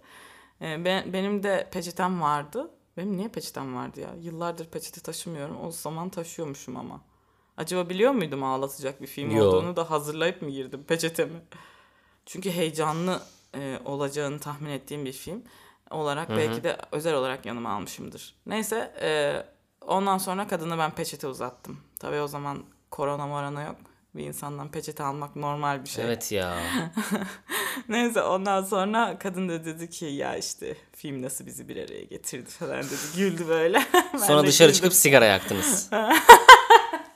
A: E, ben, benim de peçetem vardı. Benim niye peçetem vardı ya? Yıllardır peçete taşımıyorum. O zaman taşıyormuşum ama. Acaba biliyor muydum ağlatacak bir film
B: Yo.
A: olduğunu da hazırlayıp mı girdim peçetemi? Çünkü heyecanlı e, olacağını tahmin ettiğim bir film olarak belki de özel olarak yanıma almışımdır. Neyse e, ondan sonra kadına ben peçete uzattım. Tabii o zaman korona morona yok. Bir insandan peçete almak normal bir şey.
B: Evet ya.
A: Neyse ondan sonra kadın da dedi ki ya işte film nasıl bizi bir araya getirdi falan dedi. Güldü böyle. Ben
B: Sonra
A: de
B: dışarı
A: güldüm.
B: çıkıp sigara yaktınız.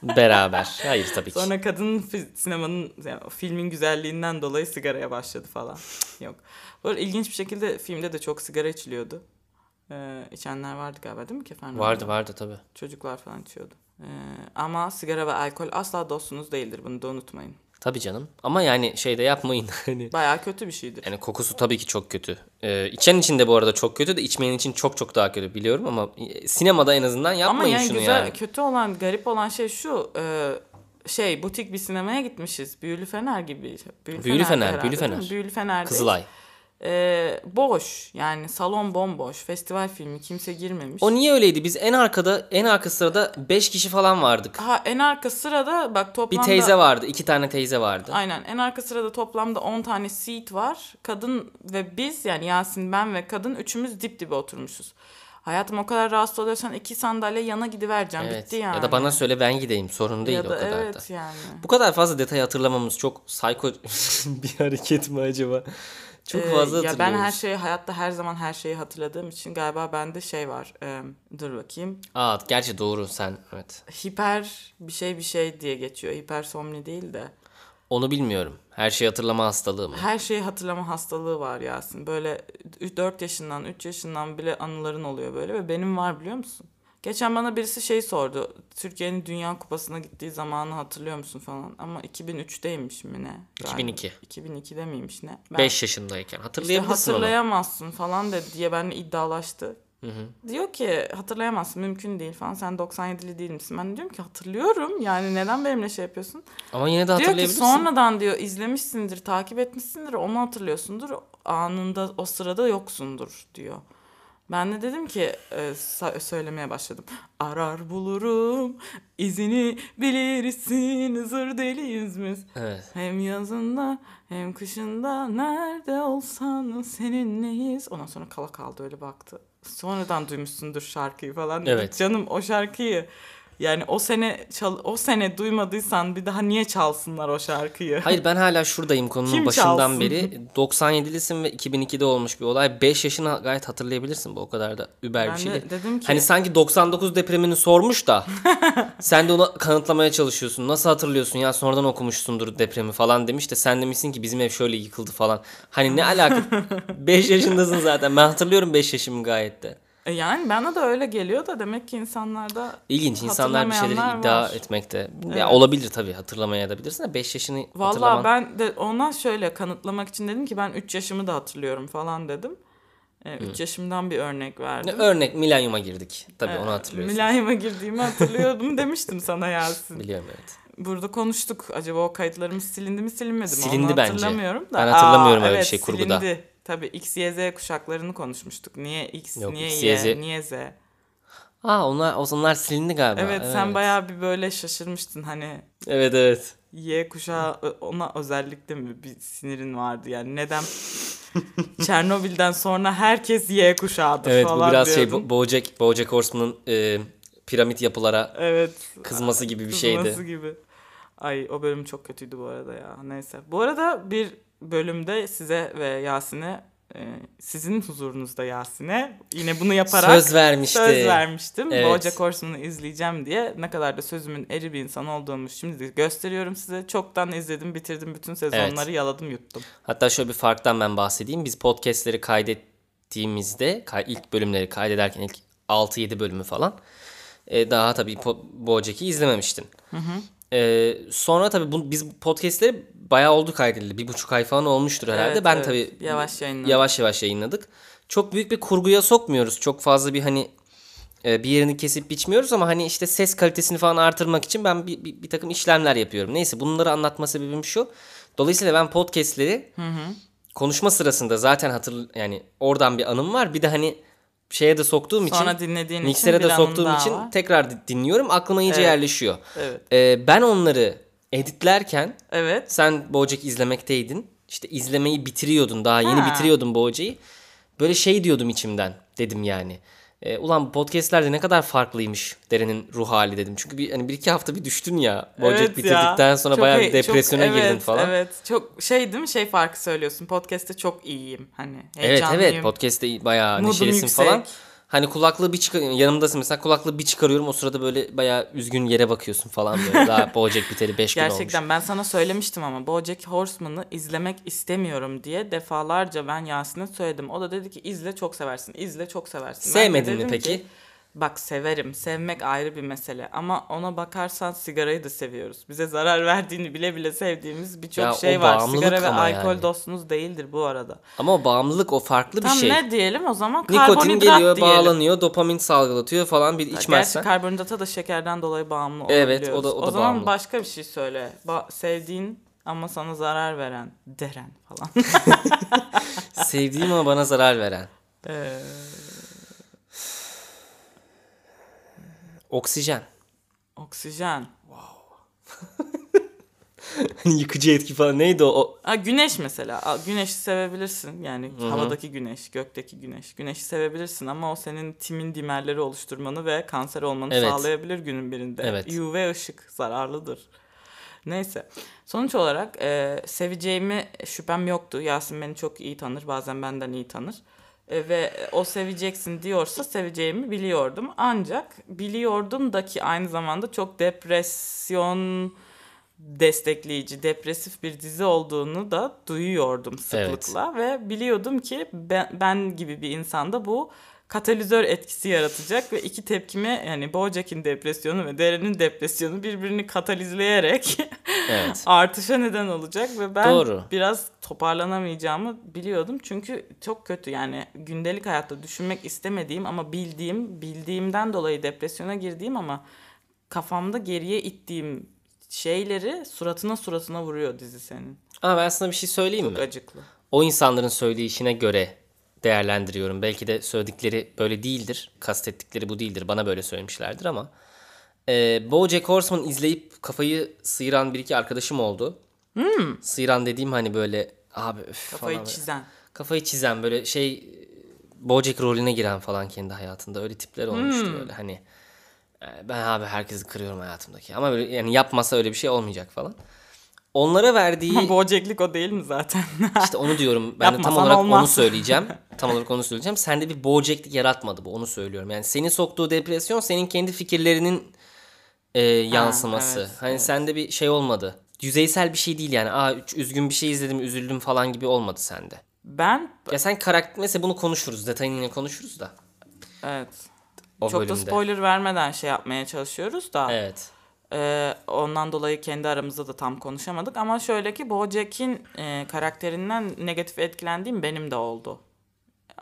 B: Beraber. Hayır tabii ki.
A: Sonra kadın fi- sinemanın yani o filmin güzelliğinden dolayı sigaraya başladı falan. Yok. Böyle ilginç bir şekilde filmde de çok sigara içiliyordu. Ee, içenler vardı galiba değil mi Kefen?
B: Vardı vardı tabii.
A: Çocuklar falan içiyordu. Ee, ama sigara ve alkol asla dostunuz değildir bunu da unutmayın.
B: Tabii canım. Ama yani şey de yapmayın. Hani
A: Bayağı kötü bir şeydir.
B: yani kokusu tabii ki çok kötü. Ee, içen için de bu arada çok kötü de içmeyen için çok çok daha kötü biliyorum ama e, sinemada en azından
A: Ama
B: yapmayın
A: yani
B: şunu
A: güzel,
B: yani.
A: kötü olan, garip olan şey şu. e, şey, butik bir sinemaya gitmişiz. Büyülü Fener gibi. Büyülü,
B: Büyülü Fener,
A: herhalde,
B: Büyülü
A: değil mi?
B: Fener.
A: Büyülü Fener'deyiz.
B: Kızılay.
A: E, boş. Yani salon bomboş. Festival filmi. Kimse girmemiş.
B: O niye öyleydi? Biz en arkada, en arka sırada 5 kişi falan vardık.
A: Ha en arka sırada bak
B: Bir
A: toplamda...
B: teyze vardı, iki tane teyze vardı.
A: Aynen en arka sırada toplamda 10 tane seat var. Kadın ve biz yani Yasin ben ve kadın üçümüz dip dibe oturmuşuz. Hayatım o kadar rahatsız oluyorsan iki sandalye yana gidivereceğim.
B: Evet.
A: Bitti yani.
B: Ya da bana söyle ben gideyim. Sorun değil
A: Ya
B: o
A: da
B: kadar da.
A: evet yani.
B: Bu kadar fazla detay hatırlamamız çok psycho bir hareket mi acaba? Çok
A: Ee,
B: fazla
A: ya
B: hatırlıyoruz.
A: ben her şeyi hayatta her zaman her şeyi hatırladığım için galiba bende şey var. Ee, dur bakayım.
B: Aa, gerçi doğru sen evet.
A: Hiper bir şey bir şey diye geçiyor. Hipersomni değil de.
B: Onu bilmiyorum. Her şeyi hatırlama hastalığı mı?
A: Her şeyi hatırlama hastalığı var Yasin. Böyle 4 yaşından 3 yaşından bile anıların oluyor böyle ve benim var biliyor musun? Geçen bana birisi şey sordu. Türkiye'nin Dünya Kupası'na gittiği zamanı hatırlıyor musun falan. Ama 2003'teymiş mi ne? Galiba.
B: 2002.
A: 2002'de miymiş ne? Ben
B: 5 yaşındayken
A: işte
B: hatırlayabilirsin onu.
A: hatırlayamazsın falan dedi diye benimle iddialaştı. Diyor ki hatırlayamazsın mümkün değil falan. Sen 97'li değil misin? Ben de diyorum ki hatırlıyorum. Yani neden benimle şey yapıyorsun?
B: Ama yine de
A: Diyor ki
B: hatırlayabilirsin.
A: sonradan diyor izlemişsindir, takip etmişsindir, onu hatırlıyorsundur. Anında o sırada yoksundur diyor. Ben de dedim ki e, sa- söylemeye başladım. Arar bulurum izini bilirsin hızır deliyiz biz.
B: Evet.
A: Hem yazında hem kışında nerede olsan seninleyiz. Ondan sonra kala kaldı öyle baktı. Sonradan duymuşsundur şarkıyı falan. dedi.
B: Evet.
A: Canım o şarkıyı yani o sene çal- o sene duymadıysan bir daha niye çalsınlar o şarkıyı?
B: Hayır ben hala şuradayım konunun
A: Kim
B: başından
A: çalsın?
B: beri. 97'lisin ve 2002'de olmuş bir olay. 5 yaşını gayet hatırlayabilirsin bu o kadar da über
A: Ben
B: bir şey
A: de
B: değil.
A: dedim ki-
B: Hani sanki 99 depremini sormuş da sen de ona kanıtlamaya çalışıyorsun. Nasıl hatırlıyorsun ya sonradan okumuşsundur depremi falan demiş de sen demişsin ki bizim ev şöyle yıkıldı falan. Hani ne alaka 5 yaşındasın zaten ben hatırlıyorum 5 yaşımı gayet de.
A: E Yani bana da öyle geliyor da demek ki insanlarda
B: İlginç insanlar bir şeyleri
A: Hatırlamayanlar
B: iddia
A: var.
B: etmekte. Ya olabilir tabii hatırlamaya da bilirsin de 5 yaşını hatırlaman.
A: Valla ben de ona şöyle kanıtlamak için dedim ki ben 3 yaşımı da hatırlıyorum falan dedim. 3 yaşımdan bir örnek verdim.
B: Örnek milenyuma girdik. Tabii
A: Ee,
B: onu hatırlıyorsun.
A: Mülayim'e girdiğimi hatırlıyordum demiştim sana Yasin.
B: Biliyorum evet.
A: Burada konuştuk. Acaba o kayıtlarımız silindi mi silinmedi mi?
B: Silindi
A: Onu
B: bence.
A: hatırlamıyorum da.
B: Ben hatırlamıyorum
A: Aa,
B: öyle bir
A: evet,
B: şey kurguda.
A: Silindi. Tabii X, Y, Z kuşaklarını konuşmuştuk. Niye X,
B: Yok,
A: niye
B: X, Y,
A: Y,
B: Z.
A: niye Z?
B: Aa onlar onlar silindi galiba.
A: Evet, sen bayağı bir böyle şaşırmıştın hani
B: Evet evet.
A: Y kuşağı ö- ona özellikle mi bir sinirin vardı yani neden Çernobil'den sonra herkes Y kuşağıdır
B: Evet
A: falan
B: bu biraz şey
A: diyordun.
B: Bo- Bojack Bojack Horseman'ın e, piramit yapılara
A: Evet.
B: kızması gibi bir
A: Kızması
B: şeydi.
A: gibi. Ay o bölüm çok kötüydü bu arada ya. Neyse. Bu arada bir bölümde size ve Yasin'e e, sizin huzurunuzda Yasin'e yine bunu yaparak
B: Söz vermişti.
A: söz vermiştim.
B: Evet.
A: Bojack Horseman'ı izleyeceğim diye. Ne kadar da sözümün eri bir insan olduğumu şimdi de gösteriyorum size. Çoktan izledim, bitirdim bütün sezonları yaladım, yuttum.
B: Hatta şöyle bir farktan ben bahsedeyim. Biz podcastleri kaydettiğimizde kay- ilk bölümleri kaydederken ilk 6-7 bölümü falan e, daha tabii po- Bojack'i izlememiştim. E, sonra tabii bu, biz podcastleri bayağı oldu kaydedildi. Bir buçuk ay falan olmuştur herhalde.
A: Evet,
B: ben
A: evet.
B: tabii
A: yavaş yayınladım.
B: yavaş yavaş yayınladık. Çok büyük bir kurguya sokmuyoruz. Çok fazla bir hani e, bir yerini kesip biçmiyoruz ama hani işte ses kalitesini falan artırmak için ben bir, bir, bir takım işlemler yapıyorum. Neyse bunları anlatma sebebim şu. Dolayısıyla ben podcastleri konuşma sırasında zaten hatır yani oradan bir anım var. Bir de hani şeye de soktuğum
A: Sonra
B: için
A: dinlediğin
B: miksere
A: için bir
B: de
A: anın
B: soktuğum
A: daha
B: için
A: var.
B: tekrar di- dinliyorum. Aklıma iyice
A: Evet.
B: yerleşiyor.
A: Evet.
B: E, ben onları editlerken
A: Evet.
B: sen Bojack izlemekteydin. İşte izlemeyi bitiriyordun. Daha yeni
A: Ha.
B: bitiriyordun Bojack'i. Böyle şey diyordum içimden dedim yani. E, ulan podcastlerde ne kadar farklıymış Deren'in ruh hali dedim. Çünkü bir, hani bir iki hafta bir düştün ya. Bojack
A: Evet ya.
B: bitirdikten sonra
A: Çok
B: bayağı
A: iyi-
B: bir
A: çok-
B: depresyona
A: evet,
B: girdin falan. Evet.
A: Evet. Çok şey değil mi? Şey farkı söylüyorsun. Podcast'te çok iyiyim. Hani
B: Evet
A: heyecanlıyım.
B: podcast'te bayağı
A: Modum
B: neşelisin
A: yüksek.
B: falan. Hani kulaklığı bir çıkar yanımdasın mesela kulaklığı bir çıkarıyorum o sırada böyle bayağı üzgün yere bakıyorsun falan böyle. Daha Bojack biteli 5 gün olmuş.
A: Gerçekten ben sana söylemiştim ama BoJack Horseman'ı izlemek istemiyorum diye defalarca ben Yasin'e söyledim. O da dedi ki izle çok seversin. izle çok seversin. Ben de
B: Sevmedin mi
A: dedim
B: peki?
A: ki, Bak severim. Sevmek ayrı bir mesele. Ama ona bakarsan sigarayı da seviyoruz. Bize zarar verdiğini bile bile sevdiğimiz
B: Ya
A: birçok
B: o
A: şey var.
B: bağımlılık
A: Sigara ve
B: ama
A: alkol
B: yani.
A: dostunuz değildir bu arada.
B: Ama o bağımlılık o farklı
A: Tam
B: bir şey.
A: ne diyelim o zaman?
B: Nikotin
A: Karbonhidrat
B: geliyor,
A: diyelim.
B: bağlanıyor, dopamin salgılatıyor falan bir içmezsen.
A: Gerçi karbonhidrata da şekerden dolayı bağımlı
B: Evet,
A: olabiliyoruz.
B: o da- o da
A: zaman
B: bağımlı.
A: başka bir şey söyle. Ba- sevdiğin ama sana zarar veren, deren falan.
B: Sevdiğim ama bana zarar veren.
A: Ee,
B: Oksijen.
A: oksijen.
B: Yıkıcı etki falan neydi o? O-
A: Ha, güneş mesela. Aa, Güneşi sevebilirsin. Yani havadaki güneş, gökteki güneş. Güneşi sevebilirsin ama o senin timin dimerleri oluşturmanı ve kanser olmanı
B: Evet.
A: sağlayabilir günün birinde.
B: Evet.
A: UV ışık zararlıdır. Neyse. Sonuç olarak e, seveceğimi şüphem yoktu. Yasin beni çok iyi tanır. Bazen benden iyi tanır. E, ve o seveceksin diyorsa seveceğimi biliyordum. Ancak biliyordum da ki aynı zamanda çok depresyon destekleyici, depresif bir dizi olduğunu da duyuyordum sıklıkla ve biliyordum ki ben, ben gibi bir insanda bu katalizör etkisi yaratacak ve iki tepkime yani Bojack'in depresyonu ve Deren'in depresyonu birbirini katalizleyerek
B: Evet.
A: artışa neden olacak ve ben
B: Doğru.
A: biraz toparlanamayacağımı biliyordum. Çünkü çok kötü yani gündelik hayatta düşünmek istemediğim ama bildiğim, bildiğimden dolayı depresyona girdiğim ama kafamda geriye ittiğim şeyleri suratına suratına vuruyor dizi senin.
B: Ama ben sana bir şey söyleyeyim mi?
A: Acıklı.
B: O insanların söyleyişine göre değerlendiriyorum. Belki de söyledikleri böyle değildir. Kastettikleri bu değildir. Bana böyle söylemişlerdir ama. E, Bojack Horseman izleyip kafayı sıyıran bir iki arkadaşım oldu. Sıyıran dediğim hani böyle abi üf falan
A: Hmm. Kafayı
B: böyle.
A: çizen.
B: Kafayı çizen böyle şey e, Bojack rolüne giren falan kendi hayatında öyle tipler olmuştu
A: Hmm.
B: böyle hani. e, Ben abi herkesi kırıyorum hayatımdaki ama böyle yani yapmasa öyle bir şey olmayacak falan. Onlara verdiği
A: Bojack'lik o değil mi zaten?
B: işte onu diyorum. Ben de tam
A: Yapmasan
B: olarak onu
A: olmaz.
B: söyleyeceğim. Tam olarak onu söyleyeceğim. Sende bir boğceklik yaratmadı bu. Onu söylüyorum. Yani seni soktuğu depresyon senin kendi fikirlerinin e, yansıması.
A: evet,
B: hani sende bir şey olmadı. Yüzeysel bir şey değil yani. Aa üç- üzgün bir şey izledim üzüldüm falan gibi olmadı sende.
A: ben
B: Ya sen karakter mesela bunu konuşuruz. Detayını yine konuşuruz da.
A: evet.
B: O
A: Çok
B: bölümde.
A: da spoiler vermeden şey yapmaya çalışıyoruz da.
B: Evet.
A: Ee, ondan dolayı kendi aramızda da tam konuşamadık ama şöyle ki BoJack'in e, karakterinden negatif etkilendiğim benim de oldu.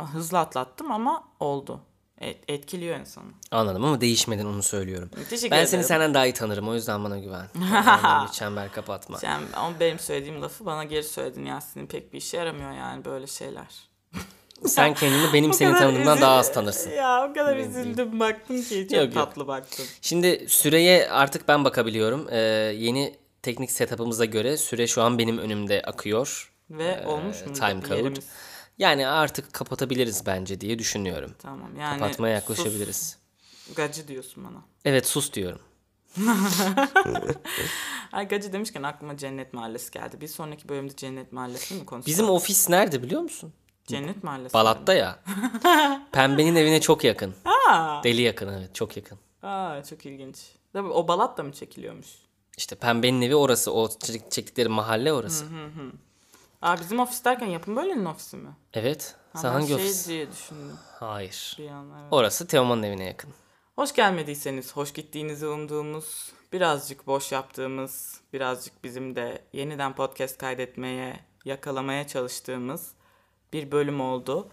A: Hızlı atlattım ama oldu. Et- etkiliyor insanı.
B: Anladım ama değişmeden onu söylüyorum.
A: Teşekkür
B: Ben
A: ederim.
B: seni senden daha iyi tanırım. O yüzden bana güven. Benden bir çember kapatma.
A: Sen, ama benim söylediğim lafı bana geri söyledin Yasin'in pek bir işe yaramıyor yani böyle şeyler.
B: Sen kendini benim
A: O
B: seni
A: kadar
B: tanıdığımdan daha az
A: üzül-
B: tanırsın.
A: Ya o kadar üzüldüm baktım ki çok
B: Yok, yok.
A: tatlı baktım.
B: Şimdi süreye artık ben bakabiliyorum. Ee, yeni teknik setup'ımıza göre süre şu an benim önümde akıyor.
A: Ve olmuş mu
B: Ee, time
A: bir
B: code.
A: yerimiz?
B: Yani artık kapatabiliriz bence diye düşünüyorum.
A: Tamam yani
B: Kapatmaya
A: sus
B: yaklaşabiliriz.
A: gacı diyorsun bana.
B: Evet sus diyorum.
A: Ay gacı demişken aklıma Cennet Mahallesi geldi. Bir sonraki bölümde Cennet Mahallesi mi konuşacağız?
B: Bizim ofis nerede biliyor musun?
A: Cennet Mahallesi.
B: Balat'ta ya. Pembenin evine çok yakın.
A: Aa,
B: Deli yakın evet çok yakın.
A: aa, çok ilginç. Tabii o Balat da mı çekiliyormuş?
B: İşte Pembenin evi orası. O çek- çektikleri mahalle orası.
A: Aa bizim ofis derken yapım bölümünün ofisi mi?
B: Evet.
A: Ha,
B: Sen
A: ben
B: hangi
A: şey
B: ofis?
A: diye düşündüm
B: Hayır.
A: bir an. evet.
B: Orası Teoman'ın evine yakın.
A: Hoş gelmediyseniz, hoş gittiğinizi umduğumuz, birazcık boş yaptığımız, birazcık bizim de yeniden podcast kaydetmeye, yakalamaya çalıştığımız bir bölüm oldu.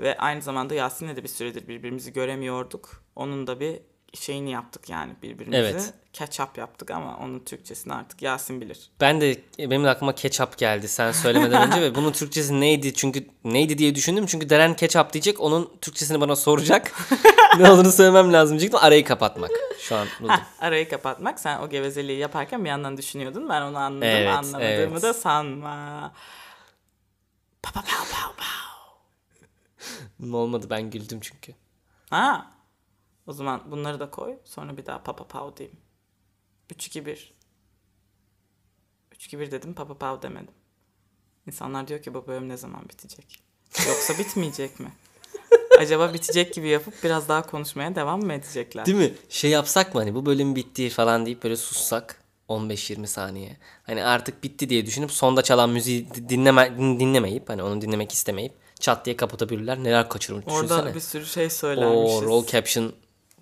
A: Ve aynı zamanda Yasin'le de bir süredir birbirimizi göremiyorduk. Onun da bir şeyini yaptık yani birbirimizi.
B: Evet.
A: Catch up yaptık ama onun Türkçesini artık Yasin bilir.
B: Ben de e, benim de aklıma ketçap geldi sen söylemeden önce ve bunun Türkçesi neydi çünkü neydi diye düşündüm çünkü Deren ketçap diyecek onun Türkçesini bana soracak ne olduğunu söylemem lazım diyecektim arayı kapatmak şu an buldum.
A: Heh, arayı kapatmak. Sen o gevezeliği yaparken bir yandan düşünüyordun. Ben onu anladım.
B: Evet,
A: Anlamadığımı
B: evet.
A: da sanma. Pa, pa, pa, pa, pa.
B: olmadı ben güldüm çünkü
A: Ha. O zaman bunları da koy. Sonra bir daha papa pav diyeyim. 3 2 1. 3 2 1 dedim, papa pav demedim. İnsanlar diyor ki bu bölüm ne zaman bitecek? Yoksa bitmeyecek mi? Acaba bitecek gibi yapıp biraz daha konuşmaya devam mı edecekler?
B: değil mi şey yapsak mı hani bu bölüm bitti falan deyip böyle sussak 15-20 saniye hani artık bitti diye düşünüp sonda çalan müziği di- dinleme, din- dinlemeyip hani onu dinlemek istemeyip çat diye kapatabilirler neler kaçırmış
A: Orada
B: düşünsene
A: bir sürü şey söylenmişiz.
B: o roll caption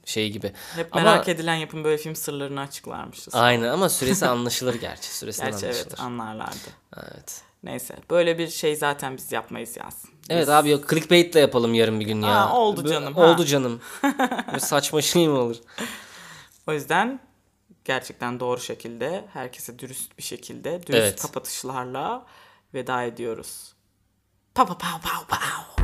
B: şey gibi
A: Hep
B: Ama-
A: merak edilen yapım böyle film sırlarını açıklarmışız.
B: Aynen ama süresi anlaşılır gerçi. Süresinden
A: Gerçi
B: anlaşılır.
A: evet anlarlardı.
B: Evet.
A: Neyse böyle bir şey zaten biz yapmayız Yasin.
B: Evet abi yok clickbaitle yapalım yarın bir gün ya.
A: Aa, oldu
B: Böyle-
A: canım, ha.
B: Oldu canım. Böyle saçma şey mi olur?
A: O yüzden gerçekten doğru şekilde, herkese dürüst bir şekilde, dürüst
B: Evet.
A: kapatışlarla veda ediyoruz. Pa pa pa pa pa.